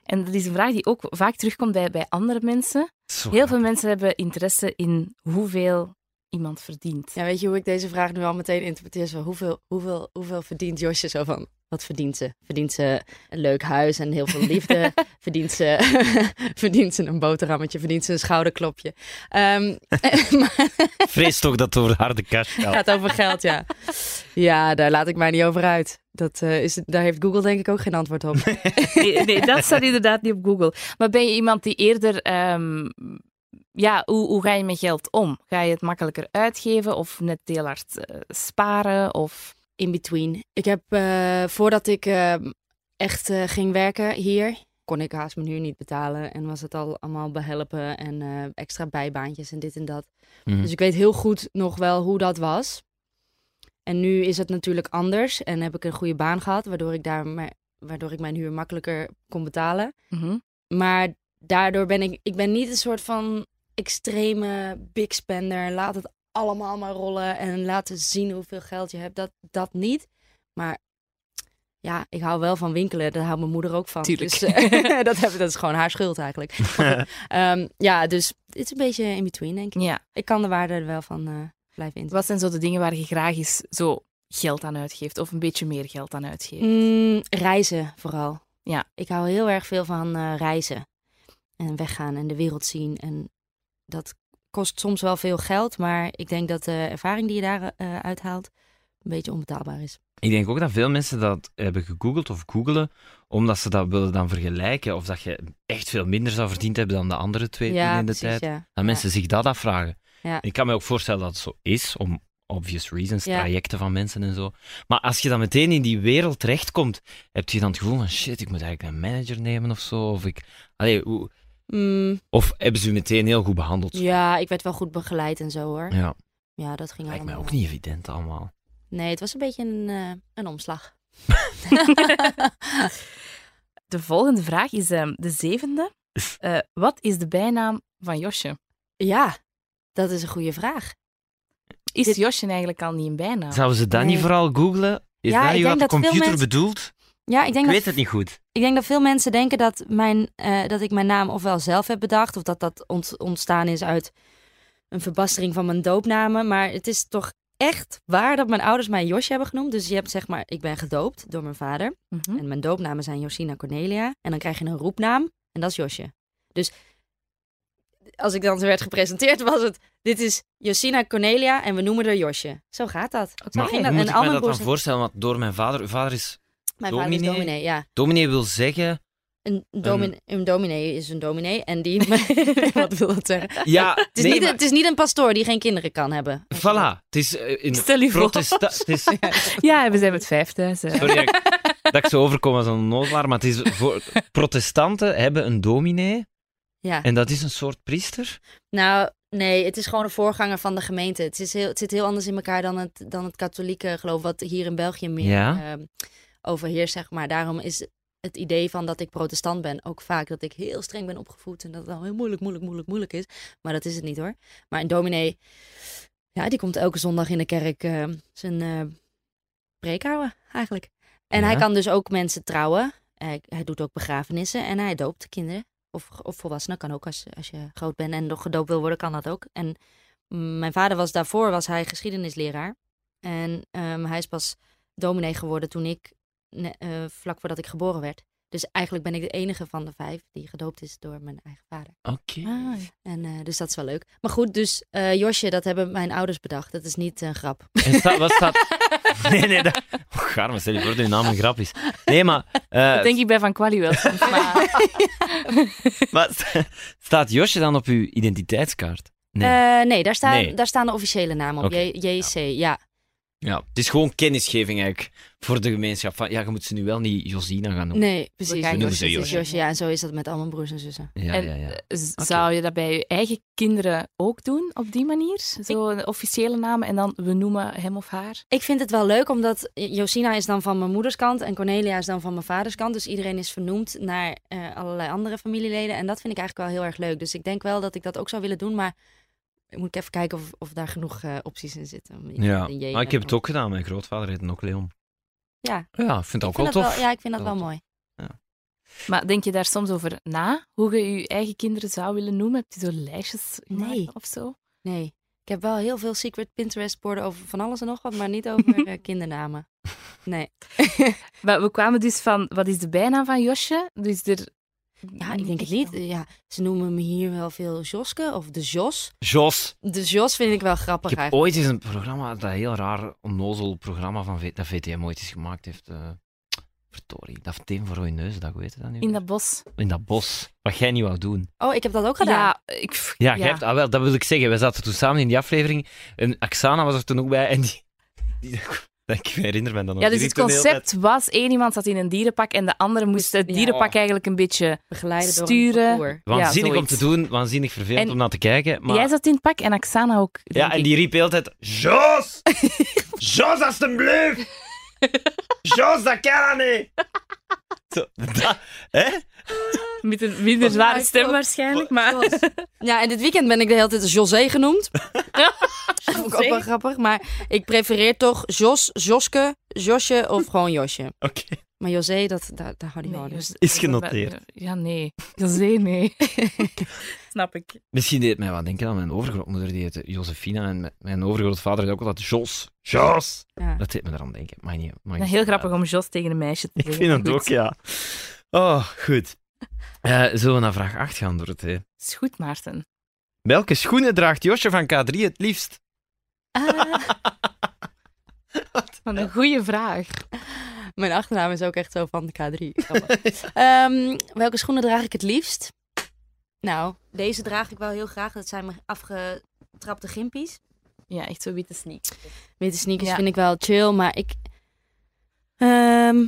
en dat is een vraag die ook vaak terugkomt bij, bij andere mensen.
Zo.
Heel veel mensen hebben interesse in hoeveel iemand verdient.
Ja, weet je hoe ik deze vraag nu al meteen interpreteer? Zo, hoeveel, hoeveel, hoeveel verdient Josje zo van? Wat verdient ze? Verdient ze een leuk huis en heel veel liefde? verdient, ze, verdient ze een boterhammetje? Verdient ze een schouderklopje? Ehm, maar
Vrees toch dat het over harde cash
het
gaat.
gaat over geld, ja. Ja, daar laat ik mij niet over uit. Dat, eh, is, daar heeft Google denk ik ook geen antwoord op.
Nee, nee, dat staat inderdaad niet op Google. Maar ben je iemand die eerder. ehm, ja, hoe, hoe ga je met geld om? Ga je het makkelijker uitgeven of net heel hard eh, sparen? Of...
in between. Ik heb eh, voordat ik eh, echt eh, ging werken hier, kon ik haast mijn huur niet betalen. En was het al allemaal behelpen en eh, extra bijbaantjes en dit en dat.
Mhm.
Dus ik weet heel goed nog wel hoe dat was. En nu is het natuurlijk anders en heb ik een goede baan gehad, waardoor ik, daar mijn- waardoor ik mijn huur makkelijker kon betalen.
Mhm.
Maar daardoor ben ik, ik ben niet een soort van extreme big spender. Laat het allemaal maar rollen en laten zien hoeveel geld je hebt. Dat, dat niet. Maar ja, ik hou wel van winkelen. Daar houdt mijn moeder ook van.
Tuurlijk.
Dus, eh, dat, heb, dat is gewoon haar schuld eigenlijk. Maar goed, ehm, ja, dus het is een beetje in between, denk ik.
Ja.
Ik kan de waarde er wel van eh, blijven in.
Wat zijn zo de dingen waar je graag eens zo geld aan uitgeeft? Of een beetje meer geld aan uitgeeft?
Mm, reizen vooral.
Ja.
Ik hou heel erg veel van eh, reizen. En weggaan en de wereld zien. En dat kost soms wel veel geld. Maar ik denk dat de ervaring die je daar eh, uithaalt een beetje onbetaalbaar is.
Ik denk ook dat veel mensen dat hebben gegoogeld of googelen, omdat ze dat willen dan vergelijken. Of dat je echt veel minder zou verdiend hebben dan de andere twee dingen in de tijd.
ja.
Dat mensen zich dat afvragen.
Ja.
Ik kan me ook voorstellen dat het zo is, om obvious reasons,
Ja.
trajecten van mensen en zo. Maar als je dan meteen in die wereld terechtkomt, heb je dan het gevoel van shit, ik moet eigenlijk een manager nemen of zo. Of, ik, allee, hoe-
Mm,
of hebben ze u meteen heel goed behandeld?
ja, ik werd wel goed begeleid en zo hoor.
Ja,
Ja, dat ging
lijkt mij
allemaal
ook
wel.
niet evident allemaal.
Nee, het was een beetje een, eh, een omslag.
De volgende vraag is ehm, de zevende. Eh, wat is de bijnaam van Josje?
ja, dat is een goede vraag.
Is
Dit-
Josje eigenlijk al niet een bijnaam?
Zouden ze dat
Nee.
niet vooral googlen? Is
Ja,
dat
ik
niet
denk
wat de
dat veel
computer
mensen-
bedoelt?
Ja, ik denk
Ik
dat
weet het niet goed.
Ik denk dat veel mensen denken dat, mijn, eh, dat ik mijn naam ofwel zelf heb bedacht... of dat dat ont- ontstaan is uit een verbastering van mijn doopnamen. Maar het is toch echt waar dat mijn ouders mij Josje hebben genoemd. Dus je hebt zeg maar, ik ben gedoopt door mijn vader.
Mhm.
En mijn doopnamen zijn Josina Cornelia. En dan krijg je een roepnaam en dat is Josje. Dus als ik dan werd gepresenteerd, was het: Dit is Josina Cornelia en we noemen haar Josje. Zo gaat dat. Zo
Maar
ging
hoe moet
En
ik me
Anne
dat dan
Boer-
voorstellen? Want door mijn vader... Uw vader is...
Mijn vader is
Dominee?
dominee, ja.
Dominee wil zeggen...
Een, domin- een dominee is een dominee en die. Wat wil dat zeggen? Het
Ja,
is,
nee,
niet,
maar-
het is niet een pastoor die geen kinderen kan hebben.
Voilà. Het is eh, in
Stel je voor.
protesta- het is-
Ja, we zijn met vijf thuis. hè.
Sorry dat ik, dat ik zo overkom als een noodlaar, maar het is voor... Protestanten hebben een dominee
Ja.
en dat is een soort priester.
Nou, nee, het is gewoon een voorganger van de gemeente. Het, is heel, het zit heel anders in elkaar dan het, dan het katholieke geloof, wat hier in België meer
Ja.
ehm, overheerst, zeg maar. Daarom is het idee van dat ik protestant ben ook vaak dat ik heel streng ben opgevoed en dat het dan heel moeilijk, moeilijk, moeilijk, moeilijk is. Maar dat is het niet hoor. Maar een dominee, ja, die komt elke zondag in de kerk ehm, zijn eh preek houden, eigenlijk. En
Ja.
hij kan dus ook mensen trouwen. Hij, hij doet ook begrafenissen en hij doopt kinderen. Of, of volwassenen kan ook als, als je groot bent en nog gedoopt wil worden, kan dat ook. En mm, mijn vader was daarvoor was hij geschiedenisleraar. En ehm, hij is pas dominee geworden toen ik, ne- eh, vlak voordat ik geboren werd. Dus eigenlijk ben ik de enige van de vijf die gedoopt is door mijn eigen vader.
Oké.
Ah,
En eh, dus dat is wel leuk. Maar goed, dus eh, Josje, dat hebben mijn ouders bedacht. Dat is niet een grap.
En sta- wat staat... Nee, nee, dat... Och, arme, stel je voor dat je naam een grap is. Nee, maar... eh,
Dat denk ik bij Van Quali wel. soms, maar-
maar sta- staat Josje dan op uw identiteitskaart? Nee.
Nee, Eh, nee, daar, staan,
Nee.
daar staan de officiële namen op.
Oké. Nou.
J- JC, ja.
Ja, het is gewoon kennisgeving eigenlijk voor de gemeenschap. Van, ja, je moet ze nu wel niet Josina gaan noemen.
Nee, precies.
Nou.
kijken
noemen ze
Het is
Josje.
Josje, ja. En zo is dat met al mijn broers en zussen.
Ja,
En-
ja, ja.
Z- Zou je dat bij je eigen kinderen ook doen op die manier? Zo een officiële naam en dan we noemen hem of haar.
Ik vind het wel leuk, omdat Josina is dan van mijn moeders kant en Cornelia is dan van mijn vaders kant. Dus iedereen is vernoemd naar eh, allerlei andere familieleden. En dat vind ik eigenlijk wel heel erg leuk. Dus ik denk wel dat ik dat ook zou willen doen, maar moet ik even kijken of, of daar genoeg eh, opties in zitten. om iemand
Ja,
een J
maar ik
en
heb het
een-
ook gedaan. Mijn grootvader heette ook Leon.
Ja.
Ja, ik vind dat
Ik
ook
vind
wel
dat
tof.
ja, ik vind dat
Dat
wel
wel
mooi.
Maar denk je daar soms over na? Hoe je je eigen kinderen zou willen noemen? Heb je zo lijstjes gemaakt
Nee.
of zo?
Nee, ik heb wel heel veel secret Pinterest-borden over van alles en nog wat, maar niet over eh, kindernamen. Nee.
Maar we kwamen dus van, wat is de bijnaam van Josje? Dus er...
Ja, ik denk het niet. Ja, ze noemen me hier wel veel Joske of de Jos.
Jos,
De Jos vind ik wel grappig
ik heb
eigenlijk.
ooit eens een programma, dat heel raar onnozel programma van v dat VTM ooit eens gemaakt heeft. eh verdorie, dat VTM voor rode neus, dat, hoe heet het dat nu?
In dat bos.
In dat bos, wat jij niet wou doen.
Oh, ik heb dat ook gedaan.
Ja, ik... pff,
Ja, jij hebt- ah, wel, dat wil ik zeggen. We zaten toen samen in die aflevering en Axana was er toen ook bij en die... die dat ik me herinner me dan nog.
Ja, dus
Die
het
riep toen heel
concept was, één iemand zat in een dierenpak en de andere moest het
Ja.
dierenpak eigenlijk een beetje
Begeleiden door een
sturen.
parcours.
de- Waanzinnig
Ja,
om te
zoiets.
doen, waanzinnig vervelend
En
om naar te kijken. Maar...
Jij zat in het pak en Axana ook.
Ja,
denk
en
ik.
die riep de hele tijd: Jos! Jos, alstublieft! Jos, dat kan dat niet! Zo, dat, hè?
Met een minder zware
mij
stem
klopt-
waarschijnlijk, maar...
Jos. Ja, en dit weekend ben ik de hele tijd José genoemd. Vond ik ook wel grappig, maar ik prefereer toch Jos, Joske, Josje of gewoon Josje.
Oké.
Maar José, dat, dat, daar hou ik niet van.
dus-
Is genoteerd.
Ja, nee. José, nee. Snap ik.
Misschien deed het mij wat denken aan mijn overgrootmoeder, die heette Josefina. En mijn- mijn overgrootvader had ook altijd Jos. Jos!
Ja.
Dat deed me eraan denken. Maar niet, maar
Nou, heel grappig om Jos tegen een meisje te
Ik
zeggen.
vind het ook,
Goed.
ja. Oh, goed. Eh, zullen we naar vraag 8 gaan, Dorothee?
Is goed, Maarten.
Welke schoenen draagt Josje van K3 het liefst?
Ah,
Wat een goede vraag.
mijn achternaam is ook echt zo van de K3. Grappig. Ehm, welke schoenen draag ik het liefst? Nou, deze draag ik wel heel graag. Dat zijn mijn afgetrapte gimpies.
Ja, echt zo witte sneak.
Witte sneakers
Ja.
vind ik wel chill, maar ik... Ehm,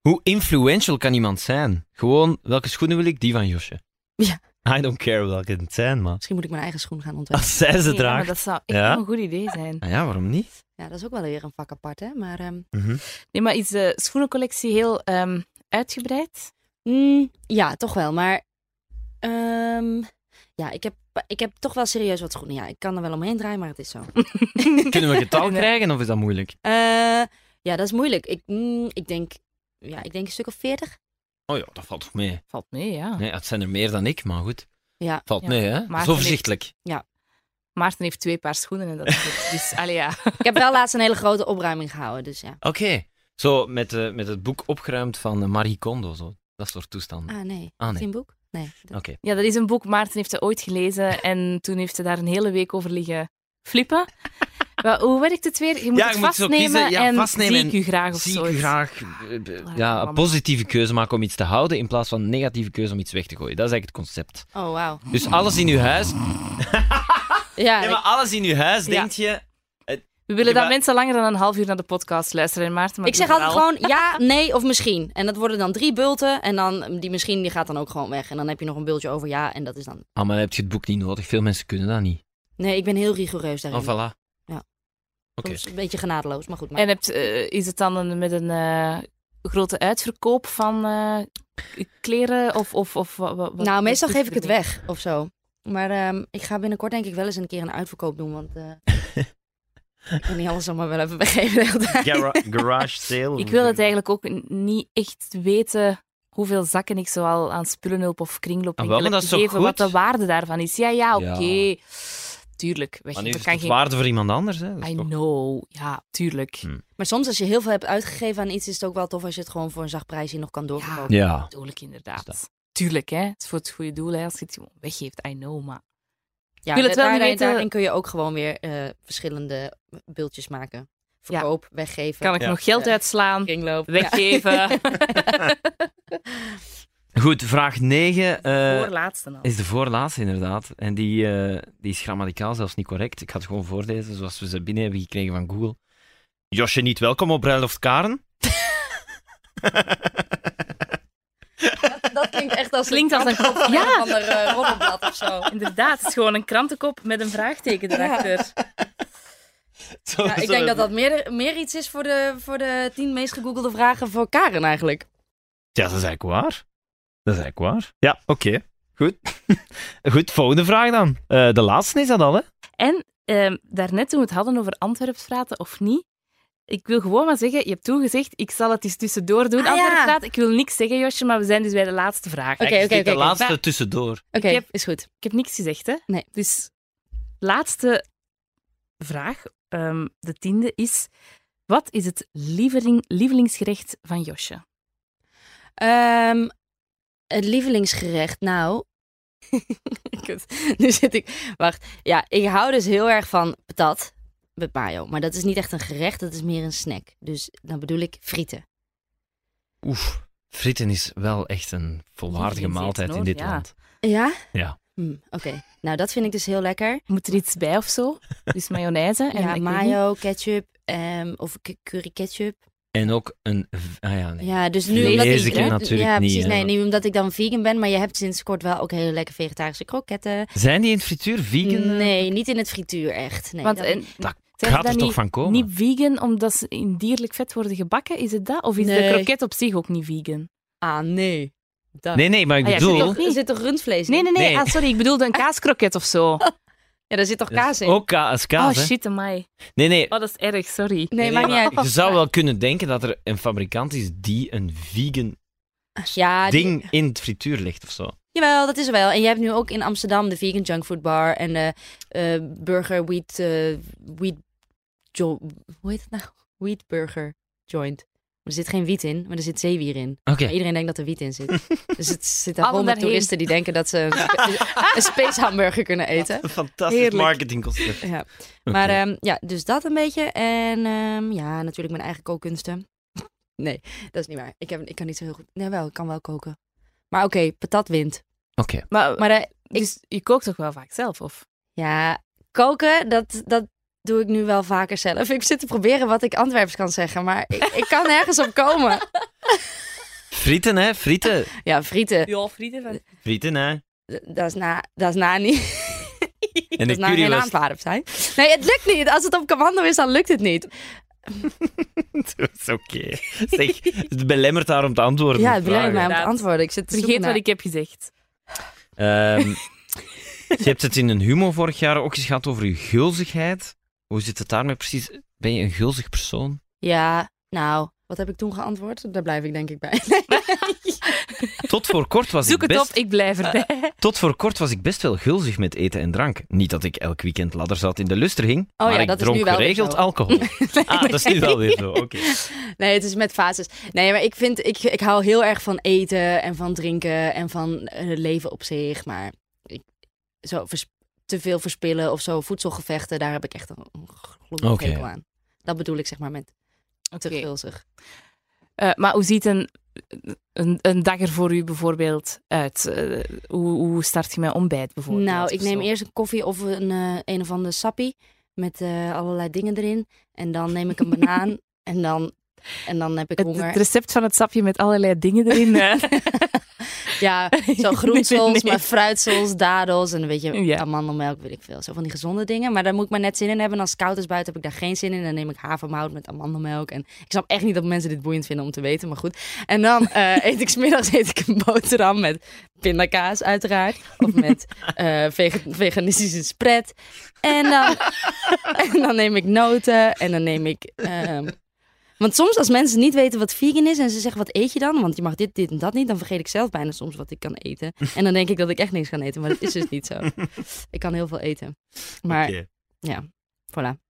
Hoe influential kan iemand zijn? Gewoon, welke schoenen wil ik? Die van Josje.
Ja.
I don't care welke het zijn, maar
misschien moet ik mijn eigen schoen gaan ontwerpen.
als zij ze
Ja, maar
draagt...
dat zou echt
Ja?
wel een goed idee zijn.
Ah ja, waarom niet?
Ja, dat is ook wel weer een vak apart, hè? Maar ehm,
Mhm.
Nee, maar is de schoenencollectie heel ehm, uitgebreid?
mm, ja, toch wel. Maar ehm, ja, ik heb, ik heb toch wel serieus wat schoenen. Ja, ik kan er wel omheen draaien, maar het is zo.
Kunnen we getal krijgen of is dat moeilijk?
Eh, ja, dat is moeilijk. Ik, mm, ik, denk, ja, ik denk een stuk of veertig.
Oh ja, dat valt toch mee?
Valt mee, ja.
Nee, het zijn er meer dan ik, maar goed.
Ah. Ja.
Valt
Ja.
mee, hè?
Maar
Zo overzichtelijk.
Maarten heeft twee paar schoenen en dat is het. Dus allee, ja.
Ik heb wel laatst een hele grote opruiming gehouden, dus ja.
Oké. Zo met, eh, met het boek opgeruimd van eh, Marie Kondo, zo. dat soort toestanden.
Ah, nee.
Ah,
Is
nee.
die een boek? Nee.
Oké.
ja, dat is een boek. Maarten heeft dat ooit gelezen en toen heeft ze daar een hele week over liggen flippen. Wel, hoe werkt het weer? Je moet
Ja,
het
je moet zo
vastnemen,
kiezen. Ja,
en
vastnemen
zie ik
en
u graag of
Zie
zo.
ik u graag
Ah,
eh, ja, een positieve keuze maken om iets te houden in plaats van een negatieve keuze om iets weg te gooien. Dat is eigenlijk het concept.
Oh, wauw.
Dus alles in uw huis,
Ja,
ja,
ik-
maar alles in uw huis,
Ja.
denk je,
We willen
Ja,
dat
maar-
mensen langer dan een half uur naar de podcast luisteren. En Maarten, maar
ik zeg
doe het
altijd
wel.
gewoon ja, nee of misschien. En dat worden dan drie bulten. En dan die misschien die gaat dan ook gewoon weg. En dan heb je nog een bultje over ja. En dat is dan.
Ah, maar dan heb je het boek niet nodig. Veel mensen kunnen dat niet.
Nee, ik ben heel rigoureus daarin.
Ah, voilà.
Ja.
Oké.
Soms een beetje genadeloos, maar goed. Maar...
En hebt, eh, is het dan een- met een eh, grote uitverkoop van eh, kleren? Of, of, of, wa- wa- wat-
nou,
wat
meestal
doet
geef ik het
ermee?
weg of zo. Maar ehm, ik ga binnenkort denk ik wel eens een keer een uitverkoop doen. Want eh, ik kan niet alles allemaal wel even weggeven. de hele tijd.
garage sale.
Ik wil het eigenlijk ook n- niet echt weten hoeveel zakken ik zoal aan spullenhulp of kringloop
Ah, wel, maar
heb
dat is toch
gegeven, wat
goed?
de waarde daarvan is. Ja, ja, oké.
Ja.
Tuurlijk,
Maar nu
weggeven
is
kan
het
geen...
waarde voor iemand anders. Hè? Dat is
I
toch-
know, ja, tuurlijk.
Hm.
Maar soms als je heel veel hebt uitgegeven aan iets, is het ook wel tof als je het gewoon voor een zacht prijsje nog kan doorverkopen.
Ja.
Tuurlijk,
Dus
inderdaad. Tuurlijk, hè. Het is voor het goede doel, hè. Als je het gewoon weggeeft, I know, maar...
Ja,
Ik wil het wel
daar-
niet
daar-
weten-
Daarin kun je ook gewoon weer eh, verschillende bultjes maken. Verkoop, weggeven.
Kan ik
Ja.
nog geld
Ja.
uitslaan?
kringloop.
Weggeven.
Goed, vraag eh, 9
Voorlaatste al.
is de voorlaatste inderdaad. En die, eh, die is grammaticaal zelfs niet correct. Ik ga het gewoon voorlezen zoals we ze binnen hebben gekregen van Google. Josje niet welkom op Bruiloft Karen.
Dat klinkt echt als
Klinkt als een kop.
ja.
Ja,
van een eh, roddelblad of zo.
inderdaad. Het is gewoon een krantenkop met een vraagteken erachter.
Zo-
Ja, ik
zo-
denk dat dat meer, meer iets is voor de, voor de tien meest gegoogelde vragen voor Karen eigenlijk.
Ja, dat is eigenlijk waar. Dat is eigenlijk waar. Ja, oké. Goed. Goed, volgende vraag dan. Eh, de laatste is dat al, hè?
En ehm, daarnet toen we het hadden over Antwerps praten of niet. Ik wil gewoon maar zeggen, je hebt toegezegd, ik zal het eens tussendoor doen,
Ah,
Antwerps
ja.
praten. Ik wil niks zeggen, Josje, maar we zijn dus bij de laatste vraag.
Oké,
Eigenlijk is
oké, oké,
dit de
oké.
laatste
Maar-
tussendoor.
Oké,
Ik heb-
is goed.
Ik heb niks gezegd, hè?
Nee.
Dus laatste vraag, ehm, de tiende, is... Wat is het lievering, lievelingsgerecht van Josje?
Ehm, het lievelingsgerecht, nou... Kut, nu zit ik... Wacht. Ja, ik hou dus heel erg van patat met mayo. Maar dat is niet echt een gerecht, dat is meer een snack. Dus dan bedoel ik frieten.
Oef, frieten is wel echt een volwaardige
Frieten is
maaltijd
iets
in
nodig,
dit
ja.
land.
Ja?
Ja.
Hm, Oké, nou dat vind ik dus heel lekker.
Moet er iets bij of zo? Dus mayonaise en ik
Ja,
weet niet.
mayo, ketchup ehm, of k- curry ketchup.
En ook een... v- Ah ja, nee.
Ja, dus nu
Lees
omdat
ik
ik,
je
ja,
natuurlijk
ja,
niet,
precies,
hè.
nee, nu omdat ik dan vegan ben, maar je hebt sinds kort wel ook hele lekkere vegetarische kroketten. Hmm,
Zijn die in het frituur vegan? eh?
Nee, niet in het frituur echt. Nee,
Want
dat-
en,
Dat
zijn ze
gaat
dan
er toch
niet-
van komen?
Niet vegan omdat ze in dierlijk vet worden gebakken, is het dat? Of is
Nee.
de kroket op zich ook niet vegan?
ah nee. Dat.
Nee, nee, maar ik
Ah ja,
bedoel...
Er
zit
zit toch- Er zit toch rundvlees in?
Nee, nee, nee.
Nee.
Ah, sorry, ik bedoelde een kaaskroket of zo.
Ja, daar zit toch
Dat is
kaas in?
Ook ka als kaas,
oh
hè?
shit, amai.
Nee, nee.
Oh, dat is erg, sorry.
Nee, maakt niet uit.
Je zou wel kunnen denken dat er een fabrikant is die een vegan
Ja, Ah, die-
ding in het frituur legt of zo.
jawel, dat is er wel. En je hebt nu ook in Amsterdam de vegan junkfood bar en de eh, burger wheat, eh, wheat jo- hoe heet het nou? Wheat burger joint. Maar er zit geen wiet in, maar er zit zeewier in.
Oké.
Maar iedereen denkt dat er wiet in zit. Dus het zit daar
Allen
vol met
daarheen.
toeristen die denken dat ze een, spe- een space hamburger kunnen eten.
Een fantastisch
Heerlijk.
marketingconcept.
Ja.
Oké.
Maar ehm, ja, dus dat een beetje. En ehm, ja, natuurlijk mijn eigen kookkunsten. Nee, dat is niet waar. Ik, heb, ik kan niet zo heel goed. Nee, wel, ik kan wel koken. Maar oké, patat wint.
Oké.
Maar,
Maar eh,
dus je kookt toch wel vaak zelf, of?
ja, koken, dat, dat doe ik nu wel vaker zelf. Ik zit te proberen wat ik Antwerps kan zeggen, maar ik, ik kan nergens op komen.
Frieten, hè? Frieten.
Ja, frieten,
Ja, frieten van...
Frieten, hè?
d- dat is na, dat is na niet.
En
dat
de
is nou
curry
geen
was-
aanvaarder zijn. Nee, het lukt niet. Als het op commando is, dan lukt het niet.
Dat is oké. Zeg, het belemmert haar om te antwoorden.
Ja,
op
het blijft mij
vragen.
om te
Inderdaad.
antwoorden. Ik zit te
Vergeet
zoeken
wat
naar-
ik heb gezegd.
Ehm, je hebt het in een humo vorig jaar ook eens gehad over je gulzigheid. Hoe zit het daarmee precies? Ben je een gulzig persoon?
Ja, nou, Wat heb ik toen geantwoord? Daar blijf ik denk ik bij. Nee.
Tot voor kort was
Zoek
ik
het
best...
op, ik blijf erbij.
Tot voor kort was ik best wel gulzig met eten en drank. Niet dat ik elk weekend ladder zat in de luster ging,
Oh ja,
maar ik
dat is
dronk
nu wel weer
geregeld
zo.
alcohol. ah, dat is nu wel weer zo. Oké.
Nee, het is met fases. Nee, maar ik vind, ik, ik hou heel erg van eten en van drinken en van eh, het leven op zich. Maar ik, zo vers- te veel verspillen of zo, voedselgevechten, daar heb ik echt een ongelooflijk
Oké.
hekel aan. Dat bedoel ik zeg maar met te
Oké.
gulzig.
Eh, maar hoe ziet een, een, een dag er voor u bijvoorbeeld uit? Eh, hoe, hoe start je met ontbijt bijvoorbeeld?
Nou, ik
of
neem
zo?
eerst een koffie of een, eh, een of andere sappie met eh, allerlei dingen erin. En dan neem ik een banaan en dan, en dan heb ik
Het,
honger.
het recept van het sapje met allerlei dingen erin. eh.
Ja, zo
Nee,
groensels,
nee.
maar fruitsels, dadels en een beetje
Ja.
amandelmelk, weet ik veel. Zo van die gezonde dingen. Maar daar moet ik maar net zin in hebben. En als het koud is buiten heb ik daar geen zin in. Dan neem ik havermout met amandelmelk. En ik snap echt niet dat mensen dit boeiend vinden om te weten, maar goed. En dan eh, eet ik smiddags eet ik een boterham met pindakaas uiteraard. Of met eh, vege- veganistische spread. En dan, en dan neem ik noten en dan neem ik... ehm, want soms als mensen niet weten wat vegan is en ze zeggen wat eet je dan? Want je mag dit, dit en dat niet. Dan vergeet ik zelf bijna soms wat ik kan eten. En dan denk ik dat ik echt niks kan eten. Maar dat is dus niet zo. Ik kan heel veel eten. Maar
Oké.
ja, voilà.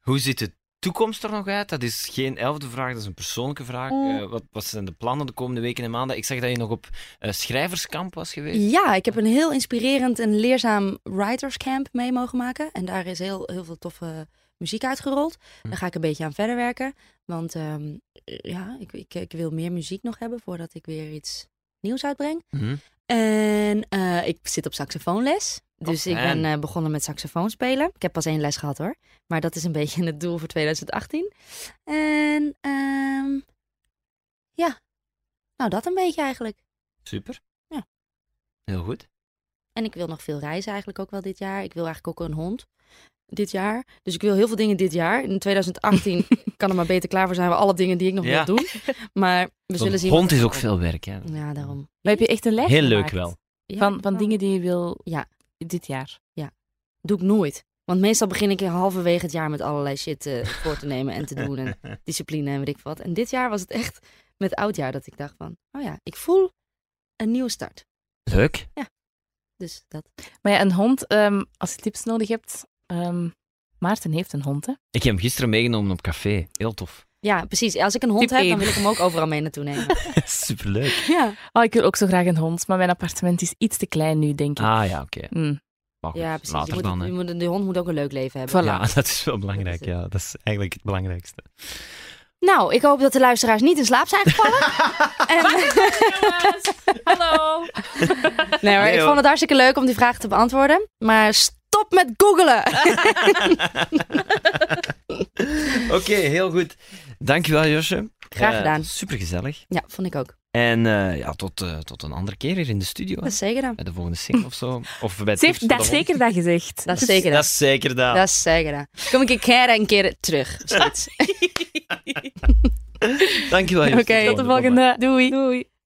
Hoe ziet de toekomst er nog uit? Dat is geen elfde vraag, dat is een persoonlijke vraag.
Mm.
Eh, wat, wat zijn de plannen de komende weken en maanden? Ik zag dat je nog op eh, schrijverskamp was geweest.
Ja, ik heb een heel inspirerend en leerzaam writers camp mee mogen maken. En daar is heel, heel veel toffe muziek uitgerold. Daar ga ik een beetje aan verder werken. Want ehm, ja, ik, ik, ik wil meer muziek nog hebben voordat ik weer iets nieuws uitbreng.
Mhm.
En eh, ik zit op saxofoonles. Dus
Oh,
ik
fijn.
ben eh, begonnen met saxofoon spelen. Ik heb pas één les gehad hoor. Maar dat is een beetje het doel voor 2018. En ehm, ja, nou dat een beetje eigenlijk.
Super.
Ja.
Heel goed.
En ik wil nog veel reizen eigenlijk ook wel dit jaar. Ik wil eigenlijk ook een hond dit jaar. Dus ik wil heel veel dingen dit jaar. In 2018 kan er maar beter klaar voor zijn. We alle dingen die ik nog
Ja.
wil doen. Maar we zullen
Want
zien.
hond
wat-
is ook veel werk. Ja.
Ja, daarom.
Maar heb je echt een lijst
Heel leuk
gemaakt
wel.
Ja,
Van, van
ja.
dingen die je wil
Ja.
dit jaar.
Doe ik nooit. Want meestal begin ik halverwege het jaar met allerlei shit eh, voor te nemen en te doen. En discipline en weet ik wat. En dit jaar was het echt met oudjaar dat ik dacht van... Oh ja, ik voel een nieuwe start.
Leuk.
Dus dat.
Maar ja, een hond, ehm, als je tips nodig hebt. ehm, Maarten heeft een hond, hè?
Ik heb hem gisteren meegenomen op café. Heel tof.
Ja, precies. Als ik een hond
Tip
heb, dan
één.
wil ik hem ook overal mee naartoe nemen.
Superleuk.
ja.
Oh, ik wil ook zo graag een hond, maar mijn appartement is iets te klein nu, denk ik.
Ah ja, oké.
Mm.
Maar Oh, goed,
ja, precies. Je
later
moet,
dan. hè.
je moet- de hond moet ook een leuk leven hebben.
Voilà.
Ja, dat is wel belangrijk.
Dat is
Ja, dat is eigenlijk het belangrijkste.
Nou, ik hoop dat de luisteraars niet in slaap zijn gevallen. en,
Hallo!
nee, maar
Nee,
ik
hoor.
vond het hartstikke leuk om die vraag te beantwoorden. Maar stop met googelen!
Oké, heel goed. Dankjewel, Josje. Eh,
Graag gedaan.
supergezellig.
ja, vond ik ook.
En eh, ja, tot, eh, tot een andere keer hier in de studio. hè.
Dat is zeker dan.
Bij de volgende single of zo. Of bij
Ze
tips
heeft
voor
dat
de hond.
zeker dat gezegd.
Dat is zeker dan.
Dat is zeker dat.
Dat is zeker dan. Kom ik een keer een keer terug. of zoiets.
Dankjewel,
Oké,
Josje.
tot de volgende. Doei. Doei.